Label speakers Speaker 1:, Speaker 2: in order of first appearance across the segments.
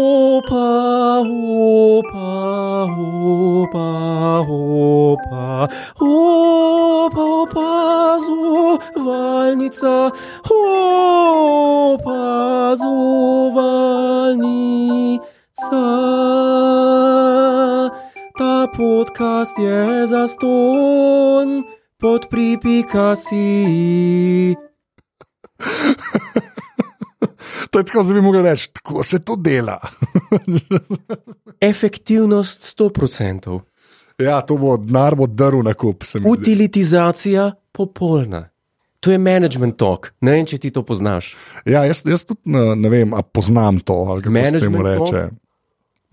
Speaker 1: Opa, opa, opa, opa, opa, opazovalnica, opazovalnica. Ta podcast je zaston pod pripikasi.
Speaker 2: To je tako, da bi mogli reči, tako se to dela.
Speaker 1: Efektivnost 100%,
Speaker 2: ja, to bo denar bo drl na kup. se mi zdi.
Speaker 1: utilitizacija popolna. To je management talk, ne vem, če ti to poznaš.
Speaker 2: Ja, jaz, jaz tudi ne, ne vem, ali poznam to, ali kako se temu
Speaker 1: Management
Speaker 2: reče.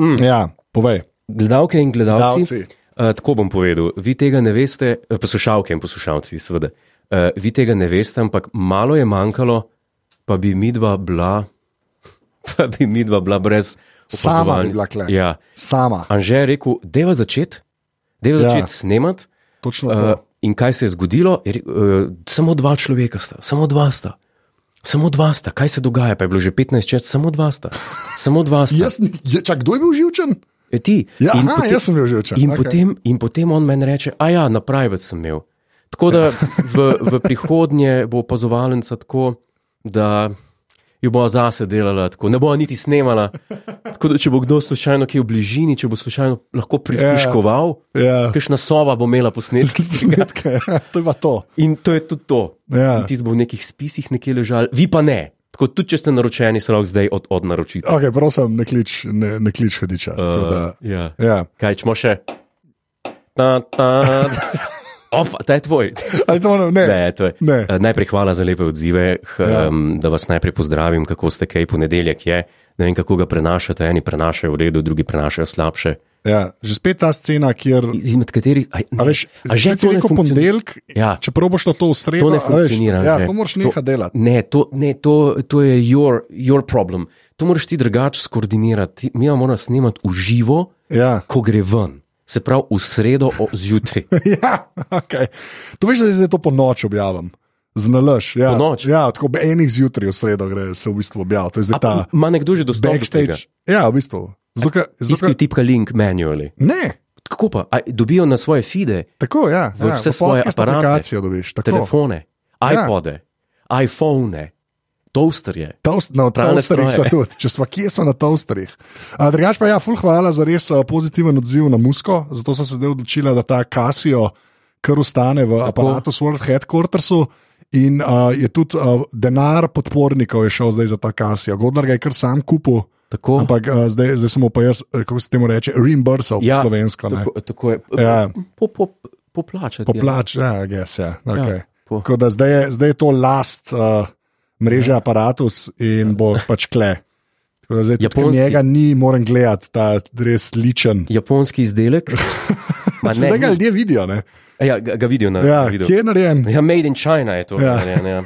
Speaker 2: Mm. Ja, povej.
Speaker 1: Gledalke in gledalci.
Speaker 2: Gledalci.
Speaker 1: Uh, tako bom povedal, vi tega ne veste, eh, poslušalke in poslušalci, seveda. Uh, vi tega ne veste, ampak malo je manjkalo, pa bi midva bila, pa bi midva bila brez.
Speaker 2: Sama bi
Speaker 1: opazovalni-
Speaker 2: bila tule.
Speaker 1: Ja.
Speaker 2: Sama,
Speaker 1: Anže je rekel, deva začeti, deva
Speaker 2: Ja.
Speaker 1: ja. začeti snemati.
Speaker 2: točno
Speaker 1: Uh,
Speaker 2: to.
Speaker 1: in kaj se je zgodilo? Je, re- uh, samo dva človeka sta, samo dva sta. Samo dva sta, kaj se dogaja, pa je bilo že 15 čez, samo dva sta. Samo dva sta.
Speaker 2: Jaz, ni- je, čak, kdo je bil živčen?
Speaker 1: E, ti.
Speaker 2: Ja,
Speaker 1: In
Speaker 2: aha, jaz sem bil živčen,
Speaker 1: In,
Speaker 2: okej.
Speaker 1: potem, in potem on meni reče, a ja, na private sem imel. Tako da v, v prihodnje bo opazovalnica tako, da jo bo zase delala tako, ne bo niti snemala. Tako da, če bo kdo slučajno kje v bližini, če bo slučajno lahko prisluškoval,
Speaker 2: Ja.
Speaker 1: kakšna sova bo imela posnetke.
Speaker 2: Snetke, to je pa to.
Speaker 1: In to je tudi to.
Speaker 2: Ja.
Speaker 1: In Ti si bo v nekih spisih nekje ležal, vi pa ne. Tako tudi, če ste naročeni, se lahko zdaj od, od naročite.
Speaker 2: Okay, prosim, ne klič, ne, ne klič hodiča. Uh, da,
Speaker 1: ja.
Speaker 2: ja.
Speaker 1: Kaj čemo še? Ta, ta. Opa, ta je tvoj.
Speaker 2: Ali to ono, ne?
Speaker 1: Ne, to je.
Speaker 2: Ne.
Speaker 1: Eh, Najprej hvala za lepe odzive, ja. um, da vas najprej pozdravim, kako ste kaj ponedeljek je. Ne vem, kako ga prenašate. Eni prenašajo v redu, drugi prenašajo slabše.
Speaker 2: Ja. Že spet ta scena, kjer.
Speaker 1: Izmed katerih. Aj, ne,
Speaker 2: A veš,
Speaker 1: a že
Speaker 2: to
Speaker 1: to ne
Speaker 2: neko
Speaker 1: funkcionira.
Speaker 2: ponedeljk,
Speaker 1: Ja.
Speaker 2: čeprav bo šlo to v sredo,
Speaker 1: To ne
Speaker 2: a veš,
Speaker 1: funkcionira.
Speaker 2: Ja,
Speaker 1: že.
Speaker 2: to moraš nehati delati.
Speaker 1: Ne, to, ne to, to je your, your problem. To moraš ti drugače skoordinirati. Mi jo moramo snemati v živo,
Speaker 2: Ja.
Speaker 1: ko gre ven. Se pravi, v sredo o- zjutraj.
Speaker 2: Ja, okay. To veš, da zdaj to po noč objavim. Znalaš, ja.
Speaker 1: Ponoči?
Speaker 2: Ja, tako ob enih zjutraj v sredo gre se v bistvu objavlja. To je zdaj
Speaker 1: A
Speaker 2: ta
Speaker 1: pa Ima nekdo že dostop do tega?
Speaker 2: backstage. Ja, v bistvu. Zato, ker- zato,
Speaker 1: Tisti, ki
Speaker 2: ker-
Speaker 1: tipka link manually.
Speaker 2: ne,
Speaker 1: Kako pa? A, dobijo na svoje feede,
Speaker 2: tako ja.
Speaker 1: V
Speaker 2: ja
Speaker 1: vse
Speaker 2: v
Speaker 1: svoje
Speaker 2: podcast
Speaker 1: aparate,
Speaker 2: aplikacijo dobiš. Tako. Ja.
Speaker 1: telefone, iPode, iPhone, toasterje.
Speaker 2: Toast, no,
Speaker 1: Pralne
Speaker 2: toasterih smo
Speaker 1: stroje.
Speaker 2: tudi, če smo kje, smo na toasterih. A, Drugač pa ja, ful hvala za res a, pozitiven odziv na musko, zato sem se zdaj odločila, da ta Kasijo kar ustane v aparatu World Headquartersu. In uh, je tudi uh, denar podpornikov je šel zdaj za ta Kasijo. Godler ga je kar sam kupil,
Speaker 1: Tako,
Speaker 2: ampak uh, zdaj, zdaj sem mu pa jaz, eh, kako se temu reče, reimbursal ja, slovensko. ne.
Speaker 1: Tako, tako je.
Speaker 2: Ja.
Speaker 1: Po, po, poplačati. ja.
Speaker 2: Poplač, ja, gess, ja. Okay.
Speaker 1: Ja, po-
Speaker 2: ja Tako da zdaj je, zdaj je to last uh, mreže ja. aparatus in bo pač kle. Tako da zdaj tudi ko
Speaker 1: Ja. Japonski.
Speaker 2: njega ni, moram gledati ta res ličen.
Speaker 1: Japonski izdelek. Ma
Speaker 2: Se Zdaj ga
Speaker 1: Ja, ni.
Speaker 2: ljudje vidijo, ne?
Speaker 1: ja, ga, ga vidijo na
Speaker 2: Ja,
Speaker 1: ja, videu.
Speaker 2: kje je narejen?
Speaker 1: Ja, made in China je to.
Speaker 2: Ja.
Speaker 1: Ja. Ne, ne.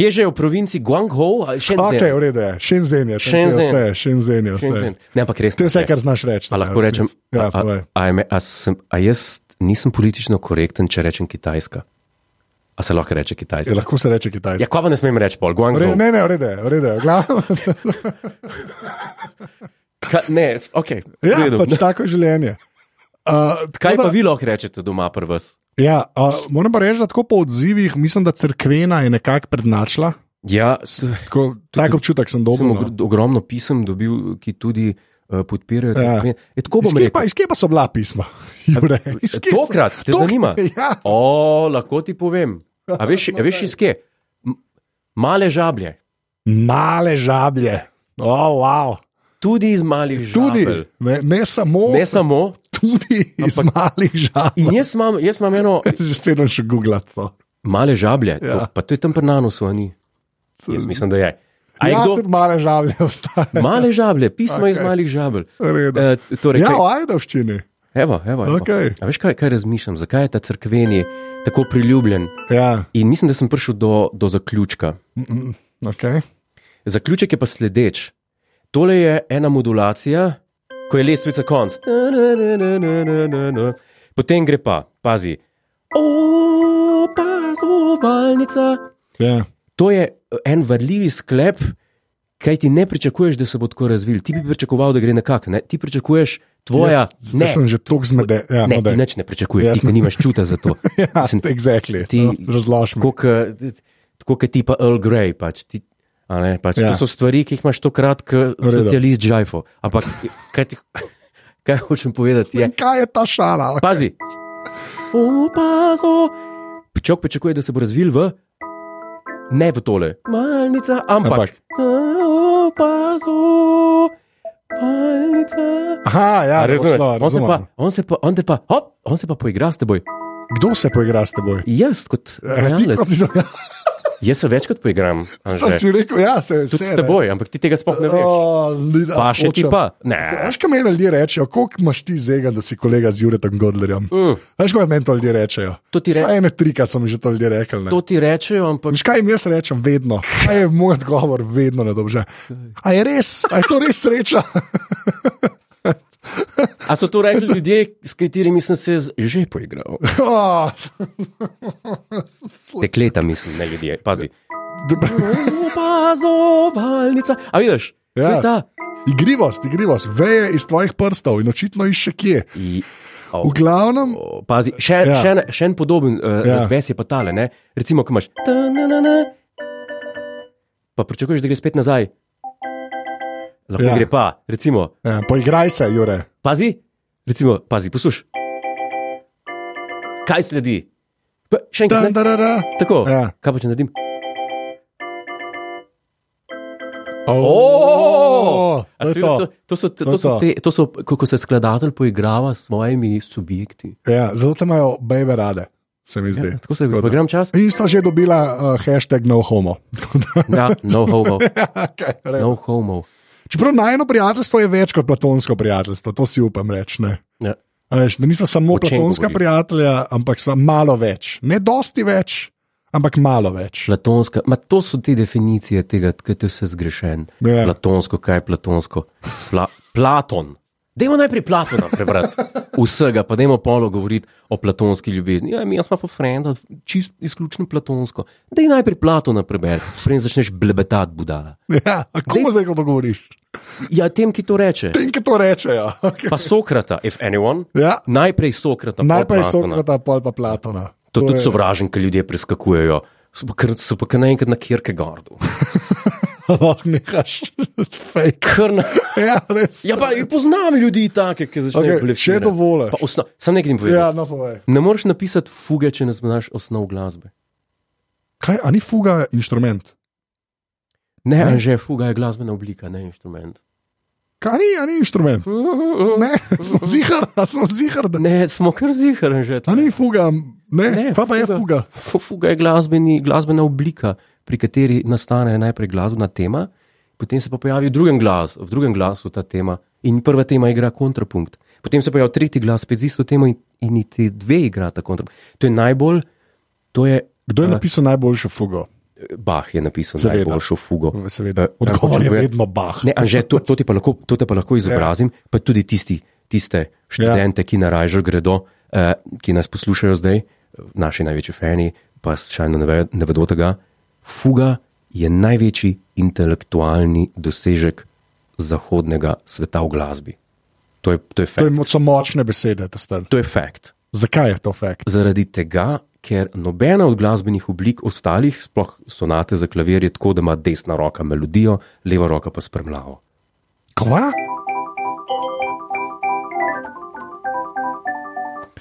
Speaker 1: Kje že je v provinci Guangzhou ali še
Speaker 2: Ok, v redu je, Shenzhen je, tam je
Speaker 1: Shenzhen.
Speaker 2: vse, Shenzhen je vse.
Speaker 1: Ne, ampak res.
Speaker 2: To je
Speaker 1: ne.
Speaker 2: vse, kar znaš reči.
Speaker 1: A
Speaker 2: ne,
Speaker 1: lahko
Speaker 2: v
Speaker 1: rečem,
Speaker 2: resnici. ja,
Speaker 1: a, a,
Speaker 2: povej.
Speaker 1: a, je me- a, sem, a jaz nisem politično korekten, če rečem Kitajska. A se lahko reče
Speaker 2: Ja,
Speaker 1: Kitajska?
Speaker 2: lahko se reče kitajsko.
Speaker 1: Ja, ko pa ne smem reči, pol,
Speaker 2: Ja,
Speaker 1: Guangzhou.
Speaker 2: ne, ne, v redu je, v redu je. v glavnem.
Speaker 1: Ka, ne, s- ok.
Speaker 2: Ja,
Speaker 1: v redu.
Speaker 2: pač tako je življenje. Uh, tako
Speaker 1: Kaj
Speaker 2: da-
Speaker 1: pa vi lahko rečete doma pri vas?
Speaker 2: Ja, a, moram pa reči, da tako po odzivih mislim, da crkvena je nekako prednačila.
Speaker 1: Ja, s-
Speaker 2: Tako, tak občutek sem dobil.
Speaker 1: sem
Speaker 2: no.
Speaker 1: ogr- ogromno pisem dobil, ki tudi uh, podpirajo.
Speaker 2: Ja.
Speaker 1: Ja. E, tako
Speaker 2: Iz
Speaker 1: bom
Speaker 2: kje,
Speaker 1: rekel.
Speaker 2: pa, iz kje pa so bila pisma? Jure, iz kje so-
Speaker 1: Tokrat te
Speaker 2: Tok-
Speaker 1: zanima?
Speaker 2: Ja,
Speaker 1: O, lahko ti povem. A veš, a veš iz kje? M- Male žablje.
Speaker 2: male žablje. Oh, wow.
Speaker 1: Tudi iz malih
Speaker 2: Tudi,
Speaker 1: žablj.
Speaker 2: ne, ne samo,
Speaker 1: Ne samo.
Speaker 2: tudi iz
Speaker 1: Ampak-
Speaker 2: malih žabljev.
Speaker 1: In jaz imam, jaz imam eno
Speaker 2: Že spet bom še googlal to.
Speaker 1: Male žablje, ja.
Speaker 2: Ja.
Speaker 1: to, pa to je tam pri nanosu, a ni. Jaz mislim, da je. A je
Speaker 2: ja,
Speaker 1: kdo?
Speaker 2: tudi male žablje obstajajo.
Speaker 1: Male žablje, pismo okay. iz
Speaker 2: Okej.
Speaker 1: malih žabelj.
Speaker 2: V redu.
Speaker 1: E, torej,
Speaker 2: Ja,
Speaker 1: kaj,
Speaker 2: o ajdovščini.
Speaker 1: evo, evo, evo.
Speaker 2: Okej.
Speaker 1: A veš, kaj, kaj razmišljam, zakaj je ta crkveni tako priljubljen?
Speaker 2: Ja,
Speaker 1: In mislim, da sem prišel do, do zaključka.
Speaker 2: okay.
Speaker 1: Zaključek je pa sledeč. Tole je ena modulacija, ko je lestvica konc. Potem gre pa, pazi, opazovalnica.
Speaker 2: ja.
Speaker 1: To je en vrljivi sklep, Kaj ti ne pričakuješ, da se bo tako razvil? Ti bi pričakoval, da gre nekako. Ne? Ti pričakuješ tvoja.
Speaker 2: Jaz,
Speaker 1: ne,
Speaker 2: jaz sem že tako zmeden. Ja,
Speaker 1: ne,
Speaker 2: no,
Speaker 1: ti
Speaker 2: daj.
Speaker 1: nič ne pričakuješ,
Speaker 2: Jaz
Speaker 1: ti pa
Speaker 2: ne-
Speaker 1: nimaš čuta za to.
Speaker 2: ja,
Speaker 1: Mislim,
Speaker 2: exactly.
Speaker 1: ti-
Speaker 2: no, Razloži mi.
Speaker 1: Tako ke- Tako kot ti pa Earl Grey. Pač, ti, a ne, pač, ja.
Speaker 2: Ja.
Speaker 1: To so stvari, ki jih imaš tokrat, kot
Speaker 2: redu.
Speaker 1: ti je list žajfo. Ampak kaj, ti, kaj hočem povedati? Je,
Speaker 2: Kaj je ta šala?
Speaker 1: pazi, opazo. Pčok pričakuje, da se bo razvil v ne v tole, malnica, ampak.
Speaker 2: Ampak.
Speaker 1: Na Opazo, malnica.
Speaker 2: Aha, ja,
Speaker 1: A razumeš?
Speaker 2: razumem.
Speaker 1: On se
Speaker 2: razumem.
Speaker 1: pa, on se pa, on te pa, hop, on se pa poigra s teboj.
Speaker 2: Kdo se poigra s teboj?
Speaker 1: Jaz kot
Speaker 2: Ja, ti kot
Speaker 1: realec,
Speaker 2: si za- ja,
Speaker 1: jaz se večkrat poigram.
Speaker 2: sem
Speaker 1: Anže.
Speaker 2: si rekel, ja, se
Speaker 1: Tudi s teboj, ampak ti tega sploh ne Oh, veš. Pa še ti pa. Ne.
Speaker 2: Veš, kaj meni ljudje rečejo, koliko imaš ti zega, da si kolega z Juretom Godlerjem?
Speaker 1: Mm,
Speaker 2: Veš, kaj meni to ljudje rečejo?
Speaker 1: To ti re-
Speaker 2: Saj ene trikrat so mi že to ljudje rekli. ne.
Speaker 1: to ti rečejo, ampak
Speaker 2: Veš, kaj jim jaz rečem, vedno. Kaj je moj odgovor, vedno nedobže. A je res, a je to res sreča?
Speaker 1: a so to rekli ljudje, s katerimi sem se z- že poigral?
Speaker 2: Oh,
Speaker 1: Dekleta, mislim, ne ljudje. Pazi.
Speaker 2: d-
Speaker 1: Opazovalnica. A vidiš? Ja. To
Speaker 2: Ja.
Speaker 1: je ta.
Speaker 2: igrivost, igrivost, veje iz tvojih prstov in očitno iz še kje.
Speaker 1: I,
Speaker 2: V
Speaker 1: oh.
Speaker 2: glavnem,
Speaker 1: O, Pazi, še, ja.
Speaker 2: Ja.
Speaker 1: še, en, še en podoben uh, ja.
Speaker 2: Ja.
Speaker 1: razves je pa tale. Ne? Recimo, ko imaš. ta-na-na-na, Pa pričakuješ, da gre spet nazaj. Lahko ja.
Speaker 2: Ja.
Speaker 1: gre pa, recimo,
Speaker 2: ja, poigraj se, Jure.
Speaker 1: pazi, recimo, pazi, poslušaj. Kaj sledi? Pa, še
Speaker 2: Da,
Speaker 1: enkrat, ne?
Speaker 2: da, da, da.
Speaker 1: tako. Ja.
Speaker 2: Ja.
Speaker 1: Kaj pa če naredim?
Speaker 2: Oh,
Speaker 1: A
Speaker 2: to je
Speaker 1: si videl,
Speaker 2: to.
Speaker 1: to, to, so, to,
Speaker 2: To
Speaker 1: to,
Speaker 2: je
Speaker 1: so
Speaker 2: to.
Speaker 1: te, to so, kako se skladatelj poigrava s svojimi subjekti.
Speaker 2: Ja, zelo te imajo bebe rade, se mi zdi.
Speaker 1: Ja, tako se
Speaker 2: Tako da.
Speaker 1: poigram čas.
Speaker 2: In sta že dobila uh, hashtag no homo.
Speaker 1: Ja, no homo,
Speaker 2: okay,
Speaker 1: no homo.
Speaker 2: Čeprav najno prijateljstvo je več kot platonsko prijateljstvo, to si upam reči. ne.
Speaker 1: Ja.
Speaker 2: A Veš, da nismo samo
Speaker 1: O čem
Speaker 2: platonska
Speaker 1: govoriš?
Speaker 2: prijatelja, ampak smo malo več. Ne dosti več, ampak malo več.
Speaker 1: Platonska, ma to so te definicije tega, kaj je vse zgrešen.
Speaker 2: Ja.
Speaker 1: Platonsko, kaj je platonsko. Pla, Platon. Dajmo najprej Platona prebrati, vsega, pa dajmo polo govoriti o platonski ljubezni. Ja, mi ja smo pa frenda, čist izključno platonsko. Daj najprej Platona prebereš, preden začneš blebetati budala.
Speaker 2: Ja, a komu zdaj ko to govoriš?
Speaker 1: Ja, tem, ki to reče.
Speaker 2: Tem, ki to rečejo. Okay.
Speaker 1: Pa Sokrata, if anyone.
Speaker 2: Ja,
Speaker 1: Najprej Sokrata,
Speaker 2: najprej
Speaker 1: najprej
Speaker 2: so
Speaker 1: Sokrata.
Speaker 2: krata, pol pa Platona.
Speaker 1: To, to tudi
Speaker 2: je-
Speaker 1: sovražen, ki ljudje preskakujejo. So pa kar- So pa kar naenkrat na Kierkegaardu.
Speaker 2: Lahko nehaš, fake.
Speaker 1: Kar na...
Speaker 2: Ja, res.
Speaker 1: Ja, pa poznam ljudi take, ki začnejo
Speaker 2: Okej,
Speaker 1: okay, blefirati.
Speaker 2: če dovoliš.
Speaker 1: Pa Osno... Sam nekaj jim povem. Ja.
Speaker 2: Ja, no povej.
Speaker 1: Ne moreš napisati fuge, če ne znaš osnov glasbe.
Speaker 2: Kaj, a ni fuga inštrument?
Speaker 1: Ne,
Speaker 2: Ne.
Speaker 1: ne. že fuga je glasbena oblika, ne inštrument.
Speaker 2: Kaj ni, a ni inštrument? Ne, smo zihar, a smo zihar, da
Speaker 1: Ne, smo kar zihar že.
Speaker 2: a ni fuga, ne,
Speaker 1: Ne,
Speaker 2: ne pa, pa je fuga.
Speaker 1: Fu- Fuga je glasbeni, glasbena oblika, pri kateri nastane najprej glasbena tema, potem se pa pojavi v drugem, glas, v drugem glasu ta tema in prva tema igra kontrapunkt. Potem se pojavi tretji glas, spet z isto temo in, in ti dve igrata kontrapunkt. To je najbolj, to je.
Speaker 2: Kdo je
Speaker 1: eh,
Speaker 2: napisal najboljšo fugo?
Speaker 1: Bah je napisal
Speaker 2: Seveda.
Speaker 1: najboljšo fugo.
Speaker 2: Seveda,
Speaker 1: Eh,
Speaker 2: odgovor
Speaker 1: hočem
Speaker 2: je
Speaker 1: povedati-
Speaker 2: vedno bah.
Speaker 1: Ne, Anže, to, to, ti pa lahko, to te pa lahko izobrazim, ja. pa tudi tisti, tiste študente, ja. ki na Rajžu gredo, eh, ki nas poslušajo zdaj, naši največji fani, pa slučajno ne, ve, ne vedo tega. Fuga je največji intelektualni dosežek zahodnega sveta v glasbi. To je, to je
Speaker 2: To je
Speaker 1: fakt.
Speaker 2: mo- so močne besede, ta star.
Speaker 1: To je fakt.
Speaker 2: Zakaj je to fakt?
Speaker 1: Zaradi tega, ker nobena od glasbenih oblik ostalih, sploh sonate za klavir, je tako, da ima desna roka melodijo, leva roka pa spremljavo.
Speaker 2: Kva?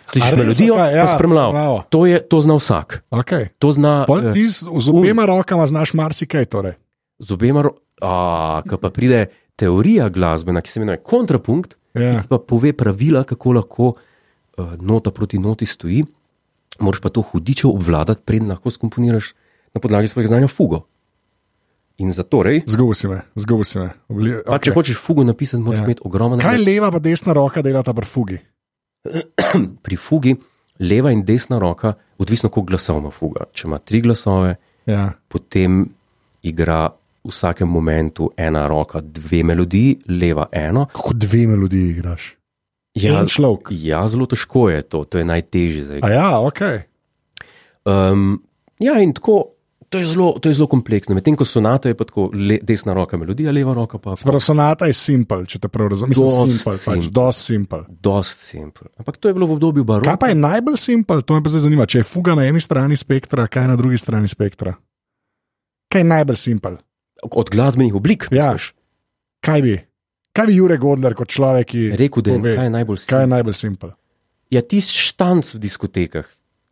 Speaker 2: A
Speaker 1: Slišiš
Speaker 2: res?
Speaker 1: melodijo,
Speaker 2: Okej,
Speaker 1: ja,
Speaker 2: ja,
Speaker 1: pa spremljavo.
Speaker 2: bravo.
Speaker 1: To, je- to zna vsak.
Speaker 2: Okay.
Speaker 1: To zna, eh,
Speaker 2: Ti z z obema rokama znaš marsikaj. Torej.
Speaker 1: z obema, ro- a, ko pa pride teorija glasbena, ki se imenuje kontrapunkt,
Speaker 2: Ja.
Speaker 1: ki ti pa pove pravila, kako lahko uh, nota proti noti stoji, moraš pa to hudiče obvladati, preden lahko skomponiraš na podlagi svojega znanja fugo. In zatorej,
Speaker 2: Zgubil si me, zgubil si me. Pač Obli,
Speaker 1: pa, okay. če
Speaker 2: okay.
Speaker 1: hočeš fugo napisati, moraš ja.
Speaker 2: Ja.
Speaker 1: imeti ogromno
Speaker 2: Kaj leva pa desna roka delata pri fugi?
Speaker 1: pri fugi. Leva in desna roka, odvisno koliko glasov ima fuga. Če ima tri glasove,
Speaker 2: Ja.
Speaker 1: potem igra v vsakem momentu ena roka, dve melodiji, leva eno.
Speaker 2: Kako dve melodiji igraš?
Speaker 1: Ja,
Speaker 2: En človek.
Speaker 1: ja, zelo težko
Speaker 2: ja,
Speaker 1: je to, to je najtežje zdaj.
Speaker 2: A ja, ok.
Speaker 1: Um, ja, in tako, to je zelo, to je zelo kompleksno. Medtem ko sonata je pa tako le, desna roka melodija, leva roka pa.
Speaker 2: Sprav, sonata je simpel, če te prav razumem. Mislim,
Speaker 1: Dost
Speaker 2: simpel, pač,
Speaker 1: simpel.
Speaker 2: dosti simpel.
Speaker 1: Dost simpel. Ampak to je bilo v obdobju baroka.
Speaker 2: Kaj pa je najbolj simpel, to me pa zdaj zanima. Če je fuga na eni strani spektra, kaj je na drugi strani spektra? Kaj je najbolj simpel?
Speaker 1: Od glasbenih oblik.
Speaker 2: Ja.
Speaker 1: misliš?
Speaker 2: Kaj bi? Kaj bi Jurek Godler kot človek, ki
Speaker 1: Rekel, da je,
Speaker 2: pove,
Speaker 1: kaj je najbolj
Speaker 2: kaj
Speaker 1: simpel.
Speaker 2: je najbolj simpel?
Speaker 1: Ja, tisti štanc v diskotekah.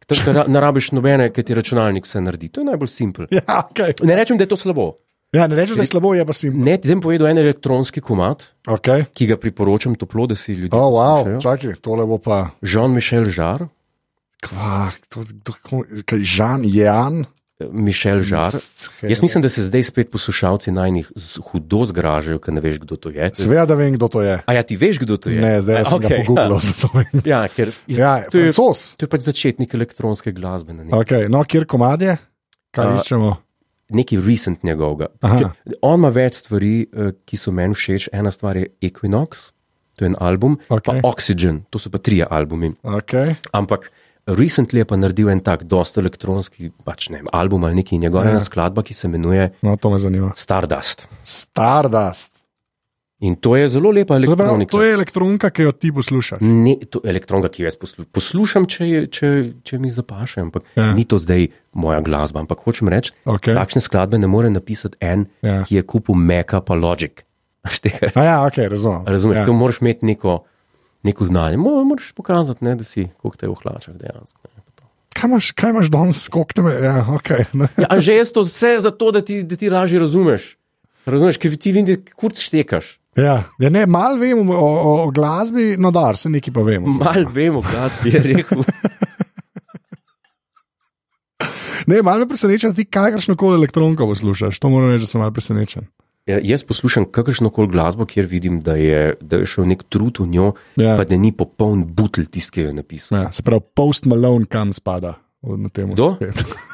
Speaker 1: Tam kar ra- ne rabiš nobene, ker ti računalnik vse naredi. To je najbolj simpel.
Speaker 2: Ja, okay.
Speaker 1: Ne rečem, da je to slabo.
Speaker 2: ja, ne rečeš, da je slabo, je pa simpel.
Speaker 1: Ne, zdaj bom povedal en elektronski komat,
Speaker 2: Okay.
Speaker 1: ki ga priporočam toplo, da si ljudje
Speaker 2: Oh, wow,
Speaker 1: poslušajo.
Speaker 2: čakaj, tole bo pa.
Speaker 1: Jean-Michel Žar,
Speaker 2: Kva, to, to, kaj, Žan, Jan.
Speaker 1: eh, Mišel
Speaker 2: Mm,
Speaker 1: Žar. Jaz mislim, da se zdaj spet poslušalci najnih z- hudo zgražajo, ker ne veš, kdo to je.
Speaker 2: Seveda, da vem, kdo to je.
Speaker 1: A ja, ti veš, kdo to je?
Speaker 2: Ne, zdaj
Speaker 1: A,
Speaker 2: jaz sem okay,
Speaker 1: okej,
Speaker 2: ga pogooglal, zato vem.
Speaker 1: Ja, ja, ker,
Speaker 2: Ja,
Speaker 1: to, je,
Speaker 2: francos.
Speaker 1: to je pač začetnik elektronske glasbe. Na nek,
Speaker 2: Okay, no, kjer komad je, kaj
Speaker 1: Ja. A,
Speaker 2: iščemo?
Speaker 1: neki recent njegovega.
Speaker 2: Aha.
Speaker 1: Če- On ima več stvari, eh, ki so meni všeč. Ena stvar je Equinox, to je en album,
Speaker 2: Okej.
Speaker 1: okay. pa Oxygen, to so pa trije albumi.
Speaker 2: Okay.
Speaker 1: Ampak recently je pa naredil en tak, dosta elektronski, pač ne vem, album ali neki njegova
Speaker 2: Ja.
Speaker 1: ja. skladba, ki se imenuje
Speaker 2: No, to me zanima.
Speaker 1: Stardust.
Speaker 2: Stardust.
Speaker 1: In to je zelo lepa
Speaker 2: Zabrav,
Speaker 1: elektronika.
Speaker 2: to je elektronka, ki jo ti poslušaš.
Speaker 1: Ne, to je elektronka, ki jo jaz poslu poslušam, če, je- če, če mi zapaše, ampak ja.
Speaker 2: Ja.
Speaker 1: ni to zdaj moja glasba. Ampak hočem reči,
Speaker 2: Okay.
Speaker 1: takšne skladbe ne more napisati en,
Speaker 2: Ja.
Speaker 1: ja. ki je kupil Meka pa Logic. Štega.
Speaker 2: A ja, ok, razumem.
Speaker 1: Razumeš,
Speaker 2: ja.
Speaker 1: ja. tu moraš imeti neko, neko znanje, Mo- moraš pokazati, ne, da si koliko te vhlačaš dejansko. ne, pa to.
Speaker 2: Kaj imaš, kaj imaš danes, skok tebe? Ja, okay, ne.
Speaker 1: Ja, a že jaz to vse zato, da ti, da ti lažje razumeš. Razumeš, ker ti vidiš, kurc štekaš.
Speaker 2: Ja. Ja, ne, mal vem o, o, o glasbi, no da, se nekaj pa vem.
Speaker 1: Mal vemo, kaj bi je rekel.
Speaker 2: Ne, mal me preseneča, da ti kakršno koli elektronko poslušaš. To moram reči, da sem mal presenečen.
Speaker 1: Ja, jaz poslušam kakršno koli glasbo, kjer vidim, da je, da je šel nek trud v njo,
Speaker 2: Ja.
Speaker 1: ja. pa da ni popoln butl tisti, ki jo je napisal.
Speaker 2: Ja, se pravi, post Malone kam spada. v- Na tem
Speaker 1: Kdo?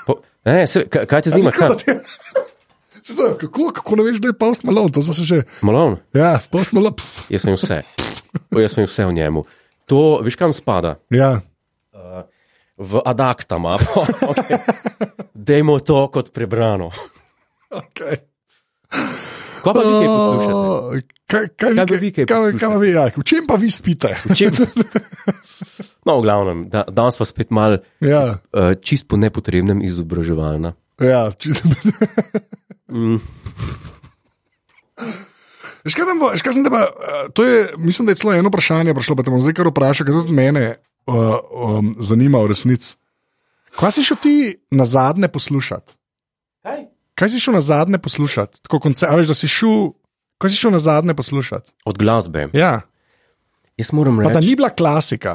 Speaker 1: Po, ne, se, kaj, kaj te zanima? Kaj?
Speaker 2: Se Zdaj, kako, kako ne veš, da je post Malone? To so se že.
Speaker 1: Malon,
Speaker 2: Ja, post Malone. Pf,
Speaker 1: jaz vem vse. O, jaz vem vse o njemu. To, veš, kam spada?
Speaker 2: ja.
Speaker 1: V adakta mapo. Okay. Dajmo to kot prebrano.
Speaker 2: Okay.
Speaker 1: Kaj pa vi kaj poslušate?
Speaker 2: Kaj,
Speaker 1: Kaj
Speaker 2: kaj,
Speaker 1: pa
Speaker 2: vi-
Speaker 1: vi kaj
Speaker 2: kaj, kaj pa
Speaker 1: poslušate?
Speaker 2: vi, ja, v čem pa vi spite?
Speaker 1: Čim? No, v glavnem, da, danes pa spet malo
Speaker 2: Ja,
Speaker 1: uh, čist po nepotrebnem izobraževalna.
Speaker 2: ja, če...
Speaker 1: Mm.
Speaker 2: Veš, kaj nam bo- veš, kaj sem te pa, eh, to je, mislim, da je celo eno vprašanje prišlo, pa te bom zdaj kar vprašal, ker tudi mene uh, um, zanima v resnici. Kaj si šel ti na zadnje poslušati?
Speaker 1: Kaj?
Speaker 2: Kaj si šel na zadnje poslušati? Tako konce, a veš, da si šel, kaj si šel na zadnje poslušati?
Speaker 1: Od glasbe.
Speaker 2: Ja,
Speaker 1: Jaz moram
Speaker 2: pa
Speaker 1: reči,
Speaker 2: da ni bila klasika,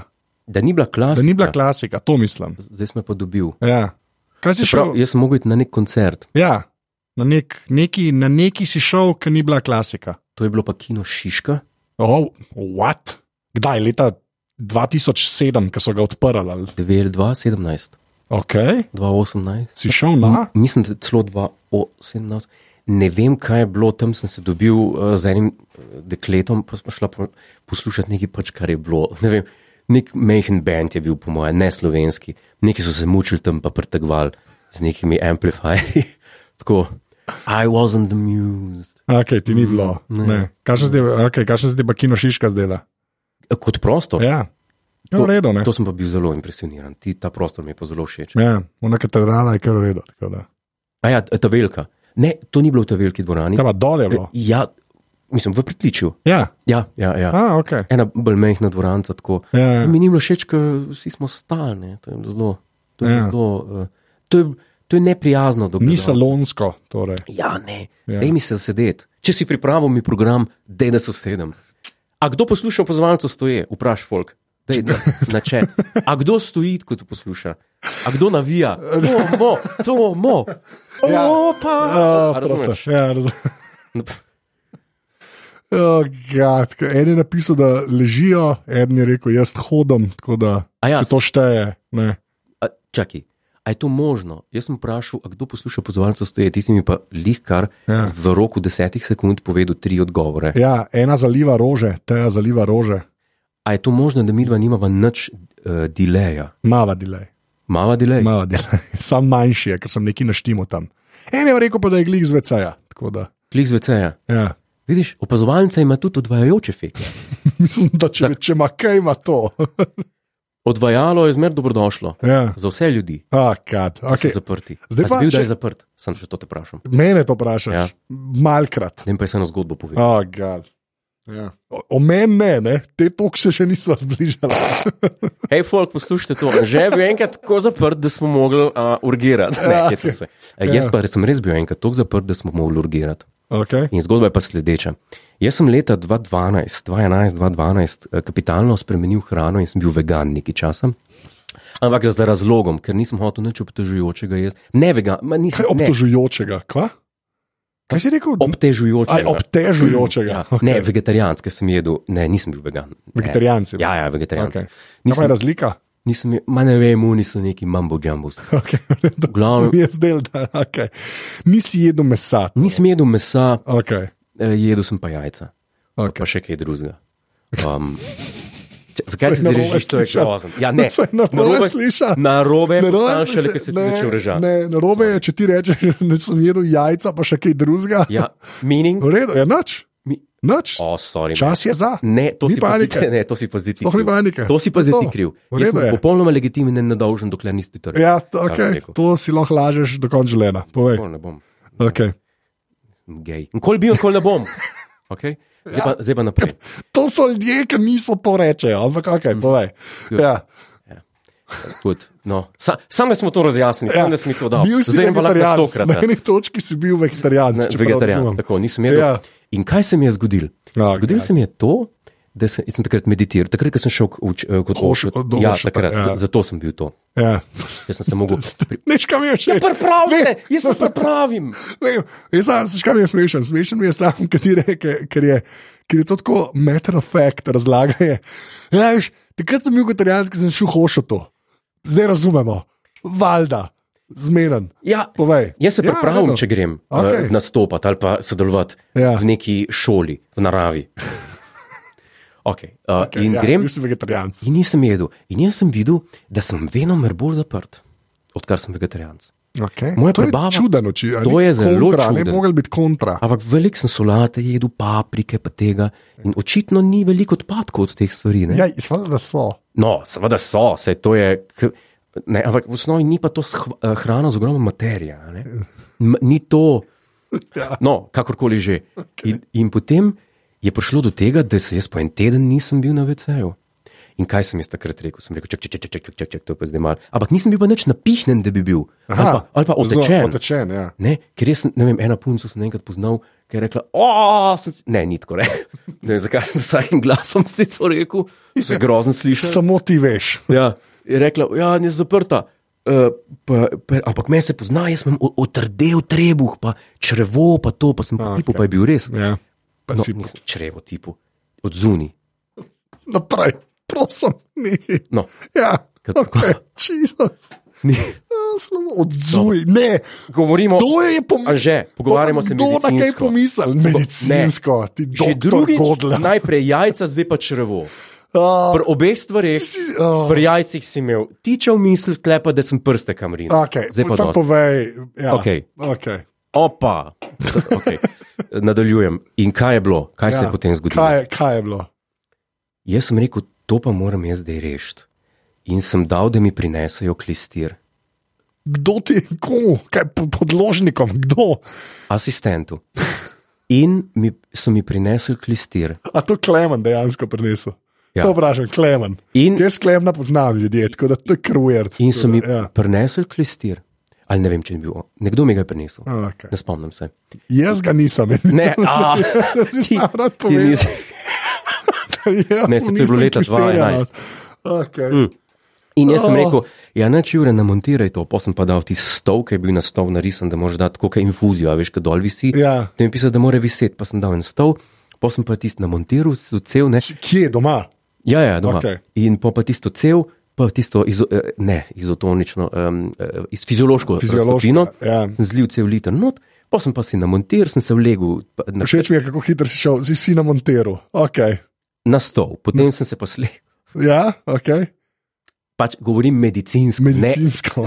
Speaker 1: da ni bila klasika.
Speaker 2: da ni bila klasika, to mislim.
Speaker 1: Zdaj smo pa dobili.
Speaker 2: Ja. Kaj si šel?
Speaker 1: Prav, jaz sem mogel iti na nek koncert,
Speaker 2: Ja, na, nek, neki, na neki si šel, ki ni bila klasika.
Speaker 1: to je bilo pa kino Šiška.
Speaker 2: Oh, what? Kdaj, leta 2007, ko so ga odprli? ali?
Speaker 1: 2017,
Speaker 2: Ok,
Speaker 1: 2018,
Speaker 2: si šel na.
Speaker 1: mislim, da celo 2017. Ne vem, kaj je bilo, tam sem se dobil uh, z enim eh, dekletom, pa smo šla po, poslušati nekaj, pač, kar je bilo. Ne vem, nek majhen band je bil, po mojem, ne slovenski, neki so se mučili tam, pa prtegvali z nekimi amplifierji. Tako, I wasn't amused.
Speaker 2: Ok, ti ni
Speaker 1: Mhm.
Speaker 2: bilo. Ne. Kaj še zdaj, okay, kaj še zdaj pa kino Šiška zdela?
Speaker 1: Eh, Kot prosto.
Speaker 2: Ja, je v redu, ne?
Speaker 1: To sem pa bil zelo impresioniran, ti ta prostor mi je pa zelo všeč.
Speaker 2: Ja, ona katedrala je kar v redu. tako da.
Speaker 1: A ja, ta velika. Ne, to ni bilo v ta veliki dvorani.
Speaker 2: Kaj pa dol je bilo?
Speaker 1: Ja, mislim, v pritličju.
Speaker 2: Ja,
Speaker 1: Ja, ja, ja.
Speaker 2: a, ok.
Speaker 1: Ena bolj mehna dvorana, tako.
Speaker 2: Ja, ja.
Speaker 1: Mi ni bilo všeč, ker vsi smo stalni. To je bilo zelo, to je,
Speaker 2: Ja.
Speaker 1: ja. zelo, eh, to je, to je neprijazno. do
Speaker 2: Ni
Speaker 1: gledalca.
Speaker 2: salonsko, torej.
Speaker 1: Ja, ne,
Speaker 2: Ja.
Speaker 1: ja. dej mi se sedeti. Če si pripravil mi program, dej da so sedem. A kdo posluša pozvalnico stoje, vpraš folk. Dej, na, na chat. A kdo stoji, ko to posluša? A kdo navija? To mo, to mo.
Speaker 2: Ja.
Speaker 1: Opa!
Speaker 2: A,
Speaker 1: A razumeš?
Speaker 2: prosto, Ja, razumem. Oh, God, ko en je napisal, da ležijo, en je rekel, jaz hodim, tako da
Speaker 1: A ja,
Speaker 2: če to šteje. Ne.
Speaker 1: a, čakaj, a je to možno? Jaz sem vprašal, a kdo posluša pozvalnico stoje, ti si mi pa lihkar ja.
Speaker 2: Ja.
Speaker 1: v roku desetih sekund povedal tri odgovore.
Speaker 2: Ja, ena zaliva rože, teja zaliva rože,
Speaker 1: A je to možno, da mi dva nimava nič uh, dileja?
Speaker 2: mava delaj.
Speaker 1: Mala delay.
Speaker 2: Malo dela, sam manjši je, ker sem neki naštimo tam. En je rekel pa, da je glik zvecaja. tako Da,
Speaker 1: Klik zveceja.
Speaker 2: ja.
Speaker 1: Vidiš, opazovalnica ima tudi odvajajoče feke.
Speaker 2: Mislim, da če, če ima kaj, ima to.
Speaker 1: Odvajalo je zmer dobrodošlo.
Speaker 2: ja.
Speaker 1: Za vse ljudi,
Speaker 2: A, kad.
Speaker 1: ki so
Speaker 2: Okay.
Speaker 1: zaprti.
Speaker 2: Zdaj
Speaker 1: A si
Speaker 2: pa,
Speaker 1: bil,
Speaker 2: če-
Speaker 1: da je zaprt, sem še to te vprašal.
Speaker 2: Mene to vprašaš,
Speaker 1: Ja.
Speaker 2: ja. malkrat.
Speaker 1: Ne pa je samo zgodbo povedal.
Speaker 2: Oh, ja. O, o meni ne, ne, te toks se še nisva zbližala.
Speaker 1: Hej, folk, poslušajte to. Že je bil enkrat tako zaprt, da smo mogli uh, urgirati. Ne,
Speaker 2: Ja,
Speaker 1: hecam
Speaker 2: okej.
Speaker 1: se. E, jaz
Speaker 2: Ja.
Speaker 1: pa res sem res bil enkrat tako zaprt, da smo mogli urgirati.
Speaker 2: Okay.
Speaker 1: In zgodba je pa sledeča. Jaz sem leta 2012, 2011, 2012 eh, kapitalno spremenil hrano in sem bil vegan nekaj časa. Ampak za razlogom, ker nisem hotel nič obtežujočega jesti. Ne vegan, ma nisem
Speaker 2: Kaj obtožujočega, kva? Kaj si rekel?
Speaker 1: ne, obtežujočega.
Speaker 2: Aj, obtežujočega.
Speaker 1: Ja, okay. Ne, vegetarijanc, ker sem jedel, ne, nisem bil vegan. Ne.
Speaker 2: Vegetarijanci.
Speaker 1: Ja, ja, vegetarijanc.
Speaker 2: Okay.
Speaker 1: Okay.
Speaker 2: Nisem...
Speaker 1: Nisem,
Speaker 2: Je razlika.
Speaker 1: nisem, je- ma ne vem, oni so neki mambo jumbos.
Speaker 2: Okay.
Speaker 1: Glavno-
Speaker 2: Glavno... Jaz del, da, okay. Nisi jedel mesa.
Speaker 1: Nisem jedel mesa,
Speaker 2: Okay.
Speaker 1: eh, jedel sem pa jajca,
Speaker 2: Okay.
Speaker 1: pa še kaj drugega. Um, če, zakaj si
Speaker 2: Saj ne
Speaker 1: zdaj
Speaker 2: bomo
Speaker 1: režiš, to je
Speaker 2: slišali.
Speaker 1: grozno? Ja, ne,
Speaker 2: Saj ne bomo slišali.
Speaker 1: Na robe,
Speaker 2: Narobe
Speaker 1: na
Speaker 2: se-
Speaker 1: šele, ki si ti
Speaker 2: ne,
Speaker 1: začel režati.
Speaker 2: Ne, narobe je, če ti rečeš, da sem jedel jajca, pa še kaj drugega.
Speaker 1: Ja, meaning?
Speaker 2: V redu, je noč.
Speaker 1: Mi-
Speaker 2: Noč.
Speaker 1: O, oh, sorry. man.
Speaker 2: Čas je za.
Speaker 1: Ne, to
Speaker 2: Ni
Speaker 1: si pa zdaj
Speaker 2: panike.
Speaker 1: ti- ne, to si pa zdaj ti
Speaker 2: Sploh ni
Speaker 1: kriv.
Speaker 2: panike.
Speaker 1: To si pa
Speaker 2: To je
Speaker 1: zdaj
Speaker 2: to.
Speaker 1: ti kriv.
Speaker 2: V
Speaker 1: Jaz
Speaker 2: redu
Speaker 1: sem
Speaker 2: je.
Speaker 1: popolnoma legitimen in nedolžen, dokler nisi ti torej. to rekel.
Speaker 2: Ja,
Speaker 1: Tako sem
Speaker 2: okay.
Speaker 1: rekel.
Speaker 2: To si lahko lažeš do konca življenja. Povej.
Speaker 1: Nikoli ne bom.
Speaker 2: Okay.
Speaker 1: Gej. Nikoli bil, nikoli ne bom. Okay? Zdaj,
Speaker 2: Ja.
Speaker 1: pa, zdaj pa naprej.
Speaker 2: To so ljudje, ki niso to rečejo, ampak ok, povej. Ja.
Speaker 1: Good. No. Sa, sam da smo to razjasnili, ja. sam da smo to
Speaker 2: Bil
Speaker 1: dali.
Speaker 2: si
Speaker 1: Zdaj jim pa lahko
Speaker 2: vegetarijanec.
Speaker 1: stokrat.
Speaker 2: Na eni točki si bil vegetarijanec. če prav
Speaker 1: Vegetarijan,
Speaker 2: razumem.
Speaker 1: tako nisem jedel.
Speaker 2: Ja.
Speaker 1: Ja. In kaj se mi je zgodilo?
Speaker 2: Ja,
Speaker 1: Zgodilo
Speaker 2: ja.
Speaker 1: se mi je to, da sem, jaz sem takrat meditiral, takrat, ko sem šel k uč, eh, kot
Speaker 2: Hoš-
Speaker 1: kot-
Speaker 2: do
Speaker 1: Ja,
Speaker 2: Hošeta,
Speaker 1: takrat,
Speaker 2: ja.
Speaker 1: ja. zato sem bil to.
Speaker 2: Ja.
Speaker 1: Jaz sem se mogel. pri-
Speaker 2: Neš kam je
Speaker 1: Ja,
Speaker 2: še?
Speaker 1: Pripravite,
Speaker 2: Ne,
Speaker 1: jaz se pripravim.
Speaker 2: Ne, jaz sam, veš, kaj mi je smešen? Smešen mi je sam, ker ti reke, ker je, ker je to tako matter of fact, razlaga je. Ja, veš, takrat sem bil kot italijanski, sem šel hošo to. Zdaj razumemo. Valjda, zmeren.
Speaker 1: Ja,
Speaker 2: Povej.
Speaker 1: jaz se
Speaker 2: Ja,
Speaker 1: pripravim,
Speaker 2: vedno.
Speaker 1: če grem
Speaker 2: Okej.
Speaker 1: okay. uh, nastopati ali pa sodelovati
Speaker 2: Ja.
Speaker 1: ja. v neki šoli, v naravi. okay. Uh, okay, in
Speaker 2: ja,
Speaker 1: ja, grem,
Speaker 2: Bil si vegetarijanec.
Speaker 1: in nisem jedel. In jaz sem videl, da sem venomer bolj zaprt, odkar sem vegetarijanec.
Speaker 2: Okay.
Speaker 1: Moja
Speaker 2: to
Speaker 1: prebava-
Speaker 2: je čuden oči. a
Speaker 1: to
Speaker 2: ni
Speaker 1: je zelo
Speaker 2: kontra, Ne bi
Speaker 1: čuden.
Speaker 2: mogel biti kontra.
Speaker 1: Ampak velik sem solate jedel, paprike, pa tega. In očitno ni veliko odpadkov od teh stvari. Ne?
Speaker 2: Ja, izpada, da so.
Speaker 1: No, seveda so, vse to je. k- Ne, ampak v osnovi ni pa to shv- eh, hrana z ogromno materije. a ne. M- Ni to.
Speaker 2: Ja.
Speaker 1: No, kakorkoli že. In, in potem je prišlo do tega, da se jaz po en teden nisem bil na VC-ju. In kaj sem jaz takrat rekel? Sem rekel, ček, ček, ček, ček, ček, ček, ček to je pa zdaj malo. Ampak nisem bil pa nič napihnen, da bi bil. ali pa, ali pa
Speaker 2: zelo
Speaker 1: otečen.
Speaker 2: Otečen, ja.
Speaker 1: Ne, ker jaz, sem- ne vem, ena punca sem enkrat poznal, ki je rekla: "O, sem si-" ne, ni tako reče. Ne vem, zakaj sem s takim glasom zdaj to rekel,
Speaker 2: Ja.
Speaker 1: se grozno sliši.
Speaker 2: Samo ti veš.
Speaker 1: Ja, je rekla: Ja, ne zaprta. Uh, pa, pa, ampak me se pozna, jaz sem otrdel trebuh, pa črevo, pa to, pa sem
Speaker 2: A,
Speaker 1: pa tipu,
Speaker 2: Ah, okej.
Speaker 1: pa je bil res.
Speaker 2: Ja. Pa
Speaker 1: No,
Speaker 2: si
Speaker 1: mislim, črevo tipu, od zunaj.
Speaker 2: naprej, prosim, nekaj.
Speaker 1: No,
Speaker 2: Ja,
Speaker 1: Kako?
Speaker 2: okay. Jezus.
Speaker 1: ni-
Speaker 2: Odzuj, ne,
Speaker 1: govorimo
Speaker 2: to je
Speaker 1: A
Speaker 2: pomembno.
Speaker 1: že, pogovarjamo se
Speaker 2: Kdo na kaj
Speaker 1: medicinsko.
Speaker 2: pomisel? Medicinsko, ti
Speaker 1: Že
Speaker 2: drugi
Speaker 1: drugič,
Speaker 2: godla.
Speaker 1: najprej jajca, zdaj pa črevo. Pri obeh stvareh Pri jajcih si imel, tiče v misli, klepa, da sem prste kamrin.
Speaker 2: Okay,
Speaker 1: Zdaj pa
Speaker 2: Sam
Speaker 1: dosti.
Speaker 2: povej, ja.
Speaker 1: Okej.
Speaker 2: okay.
Speaker 1: Opa! Okay. Nadaljujem. In kaj je bilo, kaj ja. se je potem zgodilo?
Speaker 2: Kaj, je- kaj je bilo?
Speaker 1: Jaz sem rekel, to pa moram jaz zdaj rešiti. In sem dal, da mi prinesejo klistir,
Speaker 2: Kdo ti je, komu, kaj po- podložnikom, kdo?
Speaker 1: asistentu. In mi, so mi prinesli klistir.
Speaker 2: A to Klemen dejansko prinesel.
Speaker 1: Ja.
Speaker 2: Ja. To vprašam, Klemen.
Speaker 1: In,
Speaker 2: Jaz Klemna poznam ljudi, tako da to je krujer.
Speaker 1: in so mi
Speaker 2: Ja.
Speaker 1: prinesli klistir. Ali ne vem, če je bil on. Nekdo mi ga je prinesel.
Speaker 2: Okay.
Speaker 1: Ne spomnim se.
Speaker 2: Jaz ga nisem.
Speaker 1: Ne, a,
Speaker 2: Jaz ti Ja, sam rad
Speaker 1: ti
Speaker 2: povem.
Speaker 1: nisi.
Speaker 2: Ne,
Speaker 1: Ne, saj to je bilo leta 2011.
Speaker 2: Okay.
Speaker 1: Mm. In jaz sem
Speaker 2: Oh.
Speaker 1: rekel, ja, neč ure namontiraj to, potem sem pa dal ti stol, ki je bil na stol narisan, da moraš dati kot infuzijo, a veš, kaj dol visi.
Speaker 2: Ja.
Speaker 1: Potem je pisal, da mora viseti, pa sem dal en stol, potem sem pa tisto namontiral, so cel ne.
Speaker 2: Kje je doma?
Speaker 1: Ja, ja, doma.
Speaker 2: Okej.
Speaker 1: Okay. In pa, pa tisto cel, pa tisto izo, eh, ne, izotonično, um, iz fiziološko
Speaker 2: Fiziološko,
Speaker 1: raztopino,
Speaker 2: ja.
Speaker 1: sem zlil cel liter not, potem sem pa si namontiral, sem se vlegel pa na,
Speaker 2: Všeč mi je, kako hitro si šel, si si na Monteru. Okay.
Speaker 1: na stol, potem sem se pa slegel.
Speaker 2: Ja, okay.
Speaker 1: pač govorim medicinsko,
Speaker 2: Medicinsko.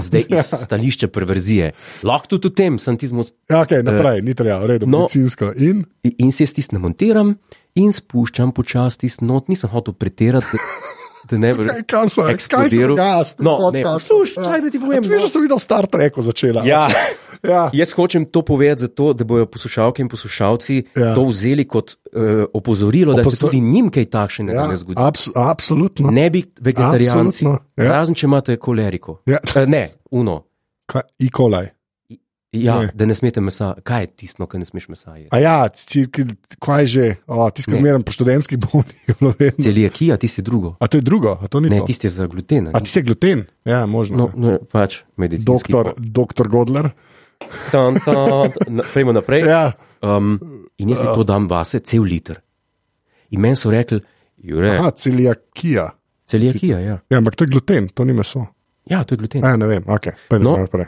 Speaker 1: ne zdaj iz stališča perverzije. Lahko tudi o tem sem tizmo
Speaker 2: Ja, okay, naprej, uh, ni treba, v redu,
Speaker 1: no.
Speaker 2: no, medicinsko. In
Speaker 1: in se jaz tisto montiram in spuščam počasi tisto not, nisem hotel pretirati. da- Da ne bi
Speaker 2: kaj, kaj se
Speaker 1: eksplodiral.
Speaker 2: dogaja?
Speaker 1: No, ne, poslušaj, čakaj, da ti povem.
Speaker 2: Ja. Veš,
Speaker 1: no.
Speaker 2: da sem videl v Star Treku začela.
Speaker 1: Ja,
Speaker 2: ja.
Speaker 1: jaz hočem to povedati zato, da bodo poslušalke in poslušalci
Speaker 2: Ja.
Speaker 1: ja. to vzeli kot uh, opozorilo, Opozor... da se
Speaker 2: Opozor-
Speaker 1: tudi njim kaj takšnega ja.
Speaker 2: Ja,
Speaker 1: ne zgodi.
Speaker 2: abs, absolutno.
Speaker 1: Ne bi vegetarijanci,
Speaker 2: Absolutno, ja.
Speaker 1: razen če imate koleriko.
Speaker 2: Ja.
Speaker 1: Eh, Ne, uno.
Speaker 2: Kaj, E. Ikolaj.
Speaker 1: Ja,
Speaker 2: Ne.
Speaker 1: ne. da ne smete mesa. Kaj je tisto, kar ne smeš mesa jesti?
Speaker 2: A ja, ti- ki- kaj že, o, tiskam
Speaker 1: Ne.
Speaker 2: zmeraj po študentskih bolnih.
Speaker 1: Celijakija, tisti drugo.
Speaker 2: A to je drugo, a to ni
Speaker 1: Ne,
Speaker 2: to.
Speaker 1: tisti je za gluten.
Speaker 2: A ti si gluten? Ja, možno.
Speaker 1: No,
Speaker 2: No,
Speaker 1: no, pač medicinski.
Speaker 2: doktor, doktor Godler.
Speaker 1: Tam, tam, prejmo naprej.
Speaker 2: Ja,
Speaker 1: Um, in jaz si to dam vase, cel liter. In meni so rekli, jure,
Speaker 2: Aha, celiakija.
Speaker 1: celijakija, ja.
Speaker 2: Ja, ampak to je gluten, to ni meso.
Speaker 1: Ja, to je gluten.
Speaker 2: A, ne vem, ok, pojdi
Speaker 1: No.
Speaker 2: naprej.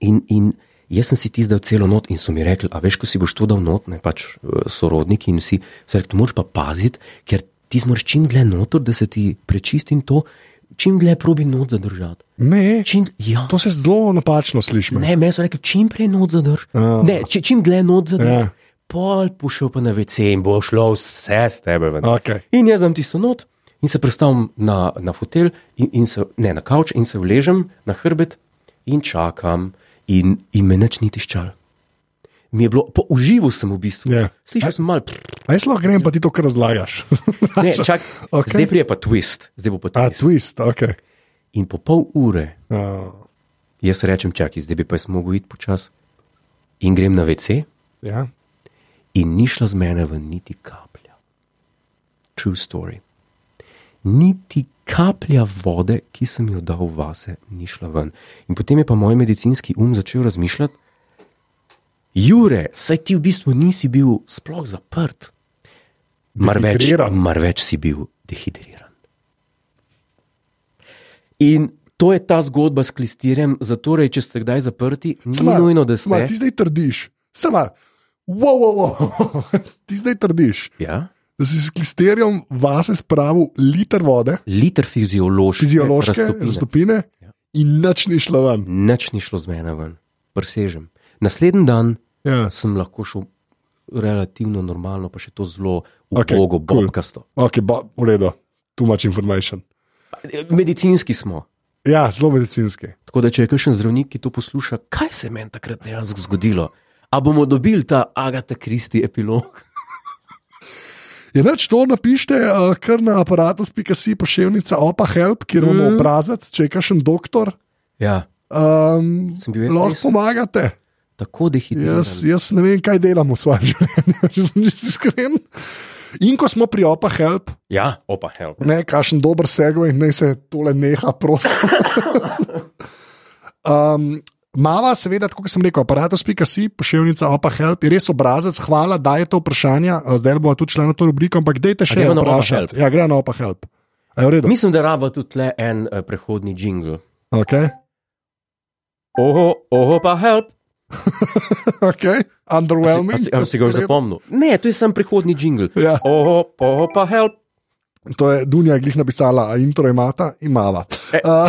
Speaker 1: In, in jaz sem si ti zdal celo not in so mi rekli, a veš, ko si boš to dal not, ne pač eh, sorodniki in vsi, so rekli, "Tu moraš pa paziti, ker ti moraš čim dlje noter, da se ti prečisti in to, čim dlje probi not zadržati.
Speaker 2: Ne,
Speaker 1: Čim, ja.
Speaker 2: to se zelo napačno sliši. meni.
Speaker 1: Ne, meni so rekli, čim prej not zadrž.
Speaker 2: Ja.
Speaker 1: Ne, če, čim dlje not zadrž.
Speaker 2: Ja.
Speaker 1: Pol pošel pa na WC in bo šlo vse s tebe ven.
Speaker 2: Okej.
Speaker 1: In jaz dam tisto not in se predstavim na, na fotelj, in, in se, ne na kavč, in se uležem na hrbet in čakam, in, in me nič ni tiščal. Mi je bilo, po uživu sem v bistvu.
Speaker 2: Ja.
Speaker 1: Slišal sem malo,
Speaker 2: A jaz lahko grem, pa ti to kar razlagaš.
Speaker 1: ne, čak,
Speaker 2: Okej.
Speaker 1: okay. zdaj prije pa twist, zdaj bo pa
Speaker 2: A,
Speaker 1: twist.
Speaker 2: twist, ok.
Speaker 1: In po pol ure
Speaker 2: Uh,
Speaker 1: jaz rečem, čakaj, zdaj bi pa jaz mogel iti počasi. In grem na WC.
Speaker 2: ja.
Speaker 1: in ni šla z mene ven niti kaplja. True story. Niti kaplja vode, ki sem jo dal vase, ni šla ven. In potem je pa moj medicinski um začel razmišljati, Jure, saj ti v bistvu nisi bil sploh zaprt. Mar več,
Speaker 2: Dehidriran.
Speaker 1: mar več si bil dehidriran. In to je ta zgodba s klistirjem, zato torej, če ste kdaj zaprti, ni
Speaker 2: Sama,
Speaker 1: nujno, da
Speaker 2: sama,
Speaker 1: ste.
Speaker 2: Ti zdaj trdiš, sama, wow, wow, wow. ti zdaj trdiš,
Speaker 1: Ja?
Speaker 2: da si s klisterjem vase spravil liter vode,
Speaker 1: liter fiziološke,
Speaker 2: fiziološke
Speaker 1: raztopine.
Speaker 2: stopine, stopine ja.
Speaker 1: Ja.
Speaker 2: in nič ni šlo ven.
Speaker 1: Nič ni šlo z mene ven, presežem. Naslednji dan
Speaker 2: Ja.
Speaker 1: sem lahko šel relativno normalno, pa še to zelo
Speaker 2: Okej,
Speaker 1: ubogo,
Speaker 2: cool.
Speaker 1: okay, bobkasto.
Speaker 2: Ok, ba, v redu, too much information.
Speaker 1: Cool. Medicinski smo.
Speaker 2: Ja, zelo medicinski.
Speaker 1: Tako da, če je kakšen zdravnik, ki to posluša, kaj se je meni takrat dejansko zgodilo? A bomo dobili ta Agata Kristi epilog?
Speaker 2: Je noč to napišite, uh, kar na aparatus.si pošiljka opa help, kjer imamo
Speaker 1: Mhm.
Speaker 2: mm. obrazec, če je kakšen doktor.
Speaker 1: Ja,
Speaker 2: Um,
Speaker 1: Sem bil jaz
Speaker 2: lahko
Speaker 1: res-
Speaker 2: pomagate.
Speaker 1: tako dehidriran.
Speaker 2: Jaz, jaz ne vem, kaj delam v svojem življenju, če sem čisto iskren. In ko smo pri opa help,
Speaker 1: Ja, opa, hell.
Speaker 2: ne, kakšen dober segoj, naj se tole neha, prosim. um, Mava, seveda, kot sem rekel, aparatus.si, pošiljka opa help, je res obrazec, hvala, dajete vprašanja, eh, zdaj bomo tudi šli na to rubriko, ampak dajte še
Speaker 1: gremo na
Speaker 2: eno
Speaker 1: Opa
Speaker 2: vprašanje.
Speaker 1: Help?
Speaker 2: Ja, gre na opa help. A je v redu?
Speaker 1: Mislim, da raba tudi le en uh, prehodni jingle.
Speaker 2: Okay.
Speaker 1: Oho, oho, pa help.
Speaker 2: Okay.
Speaker 1: Ali
Speaker 2: Underwhelming.
Speaker 1: si, a si ga
Speaker 2: V
Speaker 1: že
Speaker 2: redu.
Speaker 1: zapomnil? Ne, to je sam prihodni jingle.
Speaker 2: Ja.
Speaker 1: Oho, oho, pa help.
Speaker 2: To je Dunja glih napisala, a intro imata, imava.
Speaker 1: E.
Speaker 2: Uh,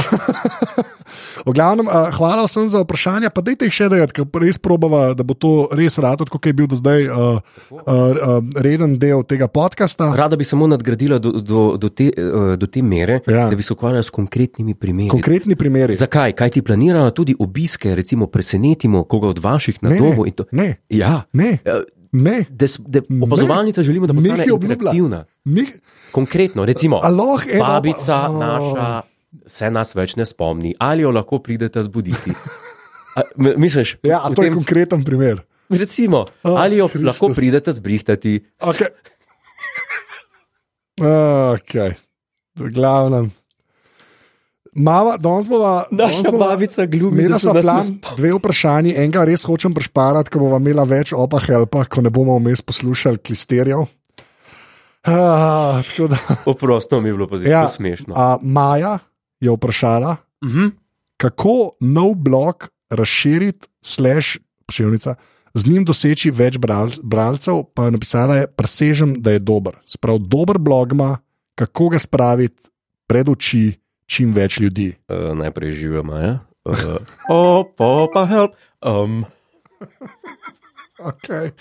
Speaker 2: v glavnem, uh, hvala vsem za vprašanja, pa dajte jih še dajati, ker res probava, da bo to res rado, kot je bil do zdaj uh, uh, uh, reden del tega podcasta.
Speaker 1: Rada bi samo nadgradila do, do, do, te, eh, do te mere,
Speaker 2: Ja.
Speaker 1: ja. da bi se ukvarjala s konkretnimi primeri.
Speaker 2: Konkretni primeri.
Speaker 1: Zakaj? Kaj ti planirajo tudi obiske, recimo presenetimo koga od vaših na
Speaker 2: Ne,
Speaker 1: domu? in to-
Speaker 2: ne,
Speaker 1: Ja,
Speaker 2: ne,
Speaker 1: Eh,
Speaker 2: ne.
Speaker 1: da, s- da
Speaker 2: Ne.
Speaker 1: opazovalnica želimo, da postane
Speaker 2: Nekaj obljublja.
Speaker 1: interaktivna.
Speaker 2: Nik,
Speaker 1: Konkretno, recimo,
Speaker 2: A lahko eno-
Speaker 1: babica
Speaker 2: Oh.
Speaker 1: naša se nas več ne spomni, ali jo lahko pridete zbuditi. A, m- misliš,
Speaker 2: ja, a
Speaker 1: v
Speaker 2: to je
Speaker 1: tem-
Speaker 2: konkreten primer.
Speaker 1: Recimo, oh,
Speaker 2: O,
Speaker 1: ali jo
Speaker 2: Kristus.
Speaker 1: Kristus. lahko pridete zbrihtati.
Speaker 2: Okay. Okay. V glavnem. Mava, danes bova. danes
Speaker 1: Naša
Speaker 2: bova-
Speaker 1: babica glumi,
Speaker 2: Imela
Speaker 1: da se
Speaker 2: sem
Speaker 1: nas ne
Speaker 2: plan,
Speaker 1: spomni.
Speaker 2: dve vprašanji, enega res hočem prešparati, ko bomo imela več opa helpa, ko ne bomo vmes poslušali klisterjev. Ah, tako da,
Speaker 1: Oprostno mi je bilo pa zelo
Speaker 2: Ja.
Speaker 1: ja. smešno.
Speaker 2: a, Mhm. Maja je vprašala,
Speaker 1: Uh -huh.
Speaker 2: kako nov blog razširiti, slash pošiljnica, z njim doseči več bral, bralcev, pa je napisala, je, presežem, da je dober. Sprav, dober blog ima, kako ga spraviti pred oči čim več ljudi.
Speaker 1: Uh, najprej živijo Maja. Uh, Opa, pa help. Um,
Speaker 2: Okay.